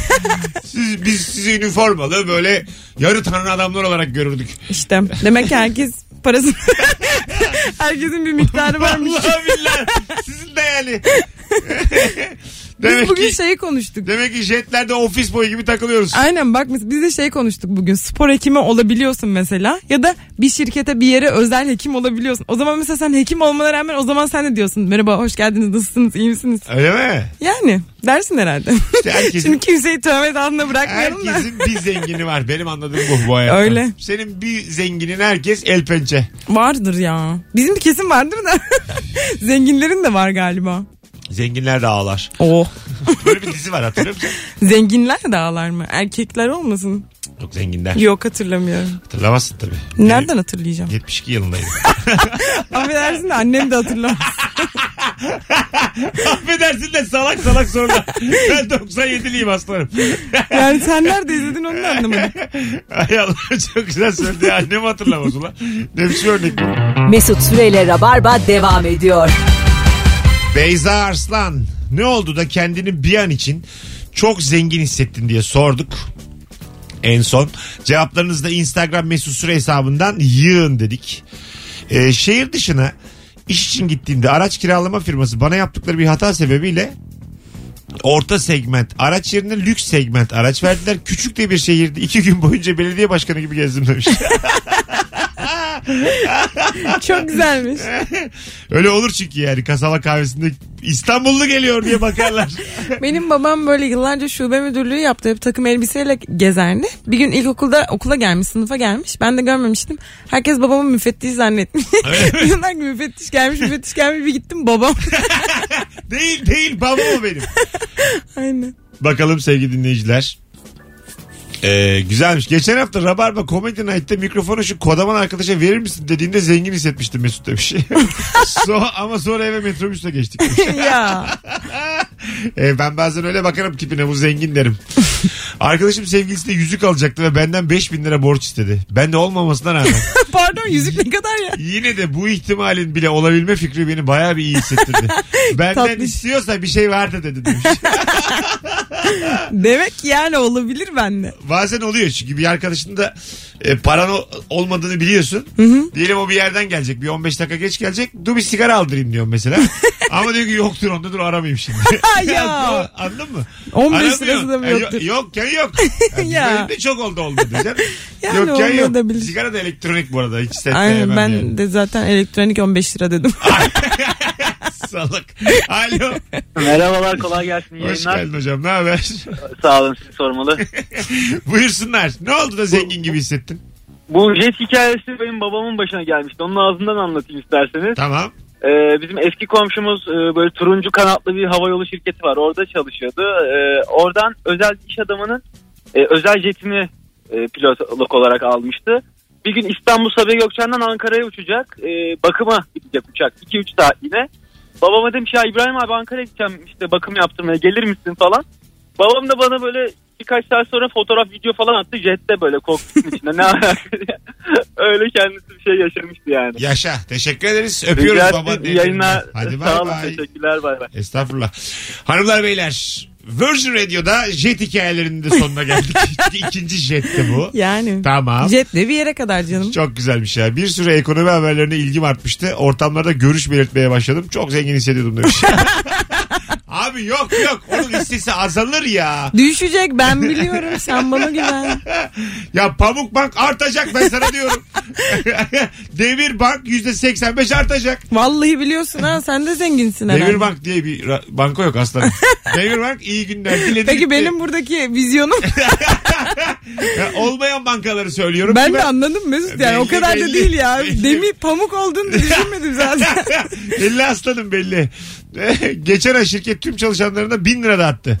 Siz, biz sizi üniformalı böyle yarı tanrı adamlar olarak görürdük. İşte demek ki herkes parası herkesin bir miktarı varmış. Vallahi billahi. Sizin de yani. Biz demek bugün ki şeyi konuştuk. demek ki jetlerde ofis boyu gibi takılıyoruz. Aynen bak mes- biz de şey konuştuk bugün spor hekimi olabiliyorsun mesela ya da bir şirkete bir yere özel hekim olabiliyorsun. O zaman mesela sen hekim olmana rağmen o zaman sen de diyorsun merhaba hoş geldiniz nasılsınız iyi misiniz? Öyle mi? Yani dersin herhalde. İşte herkesin- Şimdi kimseyi tövmet altında bırakmayalım da. Herkesin bir zengini var. Benim anladığım bu bu hayatta. Öyle. Senin bir zenginin herkes el pençe. Vardır ya. Bizim bir kesim vardır da. Zenginlerin de var galiba. Zenginler de ağlar. Oh. Böyle bir dizi var hatırlıyor musun? Zenginler de ağlar mı? Erkekler olmasın? Yok zenginler. Yok hatırlamıyorum. Hatırlamazsın tabii. Nereden hatırlayacağım? Benim 72 yılındayım. Affedersin de annem de hatırlamaz. Affedersin de salak salak sorular. Ben 97'liyim aslanım. Yani sen nerede izledin onu da anlamadım. Ay Allah çok güzel söyledi. Annem hatırlamaz ulan. Ne biçim örnek bu? Mesut Süreyle Rabarba devam ediyor. Beyza Arslan ne oldu da kendini bir an için çok zengin hissettin diye sorduk en son. Cevaplarınızı da Instagram mesut süre hesabından yığın dedik. Ee, şehir dışına iş için gittiğimde araç kiralama firması bana yaptıkları bir hata sebebiyle orta segment araç yerine lüks segment araç verdiler. Küçük de bir şehirdi. İki gün boyunca belediye başkanı gibi gezdim demiş. Çok güzelmiş. Öyle olur çünkü yani kasaba kahvesinde İstanbullu geliyor diye bakarlar. Benim babam böyle yıllarca şube müdürlüğü yaptı. Hep takım elbiseyle gezerdi. Bir gün ilkokulda okula gelmiş, sınıfa gelmiş. Ben de görmemiştim. Herkes babamı müfettiş zannetmiş. Diyorlar ki müfettiş gelmiş, müfettiş gelmiş. Bir gittim babam. değil değil baba o benim. Aynen. Bakalım sevgili dinleyiciler. Ee, güzelmiş. Geçen hafta Rabarba Comedy Night'te mikrofonu şu kodaman arkadaşa verir misin dediğinde zengin hissetmiştim Mesut demiş. so, ama sonra eve metrobüsle geçtik. demiş. ya. Ee, ben bazen öyle bakarım tipine bu zengin derim. Arkadaşım sevgilisi de yüzük alacaktı ve benden 5000 lira borç istedi. Ben de olmamasına rağmen. Pardon yüzük ne kadar ya. Yine de bu ihtimalin bile olabilme fikri beni bayağı bir iyi hissettirdi. Benden Tatlış. istiyorsa bir şey vardı dedi demiş. Demek ki yani olabilir bende. bazen oluyor çünkü bir arkadaşın da e, paran o- olmadığını biliyorsun. Diyelim o bir yerden gelecek. Bir 15 dakika geç gelecek. Dur bir sigara aldırayım diyorum mesela. Ama diyor ki yoktur onda dur aramayayım şimdi. Ya. Anladın mı? 15 Aramıyor. lirası da mı E, yo- yoktur? Yokken yok. Yani Ya. Benim de çok oldu olmadı. Canım. Yani yokken yok. olmayabilir. Sigara da elektronik bu arada. Hiç ses Aynen sevmem ben yani. de zaten elektronik 15 lira dedim. Salak. Alo. Merhabalar kolay gelsin iyi Hoş yayınlar. geldin hocam. Ne haber? Sağ olun sizi sormalı. Buyursunlar. Ne oldu da zengin gibi hissettin? Bu jet hikayesi benim babamın başına gelmişti. Onun ağzından anlatayım isterseniz. Tamam. Ee, bizim eski komşumuz e, böyle turuncu kanatlı bir havayolu şirketi var. Orada çalışıyordu. Ee, oradan özel iş adamının e, özel jetini e, pilotluk olarak almıştı. Bir gün İstanbul Sabiha Gökçen'den Ankara'ya uçacak. Ee, bakıma gidecek uçak. 2-3 saatliğine. Babama demiş ya İbrahim abi Ankara'ya gideceğim işte bakım yaptırmaya gelir misin falan. Babam da bana böyle birkaç saat sonra fotoğraf video falan attı jette böyle kokpitin içinde ne alaka diye. Öyle kendisi bir şey yaşamıştı yani. Yaşa. Teşekkür ederiz. Öpüyoruz Rica baba. ederim. İyi yayınlar. Hadi Sağ bay olun. bay. Teşekkürler. Bay bay. Estağfurullah. Hanımlar beyler. Virgin Radio'da jet hikayelerinin de sonuna geldik. İkinci jetti bu. Yani. Tamam. Jetle bir yere kadar canım. Çok güzelmiş ya. Bir sürü ekonomi haberlerine ilgim artmıştı. Ortamlarda görüş belirtmeye başladım. Çok zengin hissediyordum demiş. Abi yok yok. Onun listesi azalır ya. Düşecek ben biliyorum sen bana güven. Ya Pamuk Bank artacak ben sana diyorum. Demir Bank %85 artacak. Vallahi biliyorsun ha sen de zenginsin herhalde. Demir Bank diye bir ra- banko yok aslanım. Demir Bank iyi günler. Diledi Peki gitti. benim buradaki vizyonum Ya olmayan bankaları söylüyorum. ben ki de anladım Mesut yani Belli, o kadar belli. da değil ya. Belli. Demi pamuk olduğunu da düşünmedim zaten. belli aslanım belli. Geçen ay şirket tüm çalışanlarına bin lira dağıttı.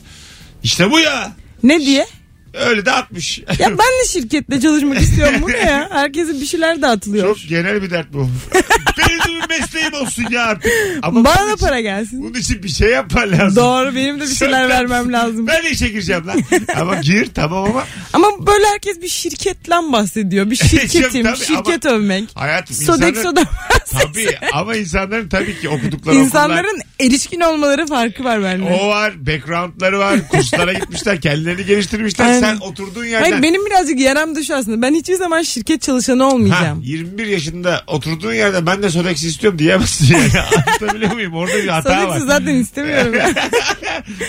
İşte bu ya. ne diye? Öyle dağıtmış. Ya ben de şirkette çalışmak istiyorum. Bu ne ya? Herkese bir şeyler dağıtılıyor. Çok genel bir dert bu. Benim de bir mesleğim olsun ya artık. Ama Bana bunun da için- para gelsin. Bunun için bir şey yapman lazım. Doğru benim de bir şeyler Çok vermem lazım. Ben de işe gireceğim lan. ama gir tamam ama Ama böyle herkes bir şirketten bahsediyor. Bir şirketim, tabii şirket övmek. hayatım insanların... Sodexo'dan bahsediyor. Tabii ama insanların tabii ki okudukları okullar- İnsanların erişkin olmaları farkı var bende. O var, backgroundları var, kurslara gitmişler, kendilerini geliştirmişler. Aynen. Sen oturduğun yerden... Hayır benim birazcık yaram dışı aslında. Ben hiçbir zaman şirket çalışanı Ha, olmayacağım. 21 yaşında oturduğun yerde ben de Sodex'i istiyorum diyemezsin yani. Anlatabiliyor muyum? Orada bir hata var. Sodexo zaten istemiyorum.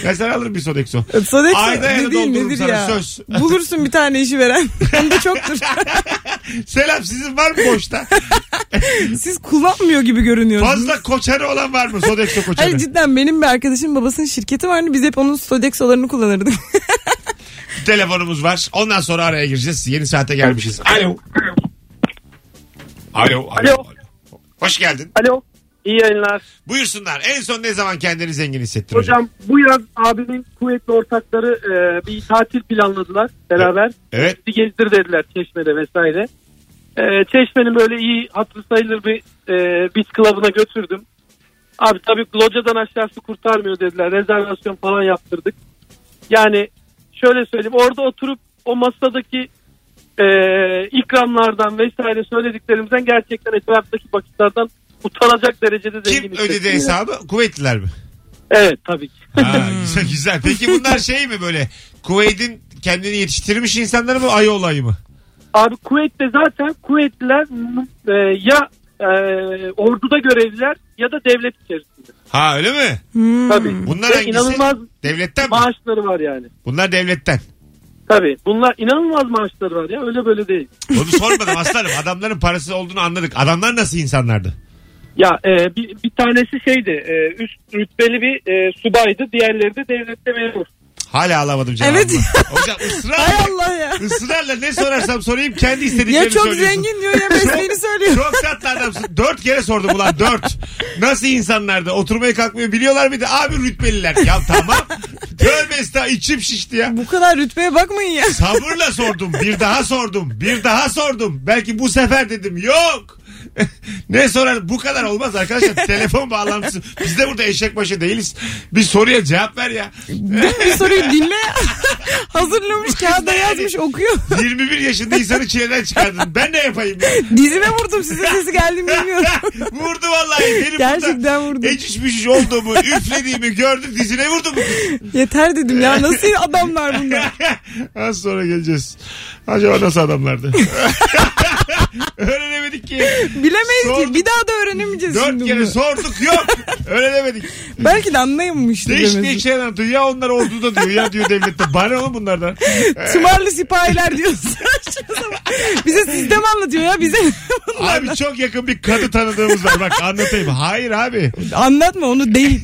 Ben sana alırım bir Sodexo. Sodexo Ayda ayda ne değil doldururum nedir sana ya. söz. Bulursun bir tane işi veren. Hem de çoktur. Selam sizin var mı boşta? Siz kullanmıyor gibi görünüyorsunuz. Fazla koçarı olan var mı Sodexo koçarı? Hayır cidden benim bir arkadaşım babasının şirketi vardı. Biz hep onun Sodexo'larını kullanırdık. Telefonumuz var. Ondan sonra araya gireceğiz. Yeni saate gelmişiz. Alo. Alo. Alo. Alo. Hoş geldin. Alo. İyi yayınlar. Buyursunlar. En son ne zaman kendini zengin hissettin hocam? Hocam bu yaz abimin kuvvetli ortakları e, bir tatil planladılar beraber. Evet. Bizi gezdir dediler Çeşme'de vesaire. Ee, E, Çeşme'nin böyle iyi hatırı sayılır bir e, beach club'ına götürdüm. Abi tabii locadan aşağısı kurtarmıyor dediler. Rezervasyon falan yaptırdık. Yani şöyle söyleyeyim orada oturup o masadaki e, ikramlardan vesaire söylediklerimizden gerçekten etraftaki bakışlardan utanacak derecede zengin Kim hissettim ödedi yani. hesabı? Kuvvetliler mi? Evet tabii ki. Ha, güzel güzel. Peki bunlar şey mi böyle Kuveyt'in kendini yetiştirmiş insanları mı ayı olayı mı? Abi Kuveyt'te zaten Kuveytliler m- e, ya e, orduda görevliler ya da devlet içerisinde. Ha öyle mi? Tabii. Bunlar Ve hangisi? inanılmaz Devletten mi? maaşları var yani. Bunlar devletten. Tabii. Bunlar inanılmaz maaşları var ya öyle böyle değil. Onu sormadım aslanım. Adamların parası olduğunu anladık. Adamlar nasıl insanlardı? Ya e, bir, bir tanesi şeydi e, üst rütbeli bir e, subaydı diğerleri de devlette memur. Hala alamadım cevabını. Evet. Hocam Hay ısrar, Allah ya. ısrarla ne sorarsam sorayım kendi istediklerini Ya çok söylüyorsun. zengin diyor ya mesleğini söylüyor. Çok tatlı adamsın. Dört kere sordum ulan dört. Nasıl insanlardı? Oturmaya kalkmıyor biliyorlar bir de abi rütbeliler. Ya tamam. Tövbe estağfurullah içim şişti ya. Bu kadar rütbeye bakmayın ya. Sabırla sordum. Bir daha sordum. Bir daha sordum. Belki bu sefer dedim. Yok. ne sorar? Bu kadar olmaz arkadaşlar. Telefon bağlantısı. Biz de burada eşek başı değiliz. Bir soruya cevap ver ya. Bir soruyu dinle. Hazırlamış kağıda yazmış okuyor. 21 yaşında insanı çileden çıkardın. Ben ne yapayım? ya? Dizime vurdum sizin sesi geldi mi bilmiyorum. Vurdu vallahi. Benim burada Gerçekten vurdum. Eciş bücüş olduğumu, üflediğimi gördüm. Dizine vurdum. Yeter dedim ya nasıl adamlar bunlar. Az sonra geleceğiz. Acaba nasıl adamlardı? Öğrenemedik ki. Bilemeyiz Sorduk. ki bir daha da öğrenemeyeceğiz Dört şimdi kere bunu. sorduk yok. Öğrenemedik. Belki de anlayamamıştı Değişik demesi. değişik şeyler anlatıyor. Ya onlar oldu da diyor. Ya diyor devlette. Bana ne oğlum bunlardan? Tımarlı sipahiler diyorsun. Saçma sapan. bize sistem anlatıyor ya bize. Abi çok yakın bir kadı tanıdığımız var. Bak anlatayım. Hayır abi. Anlatma onu değil.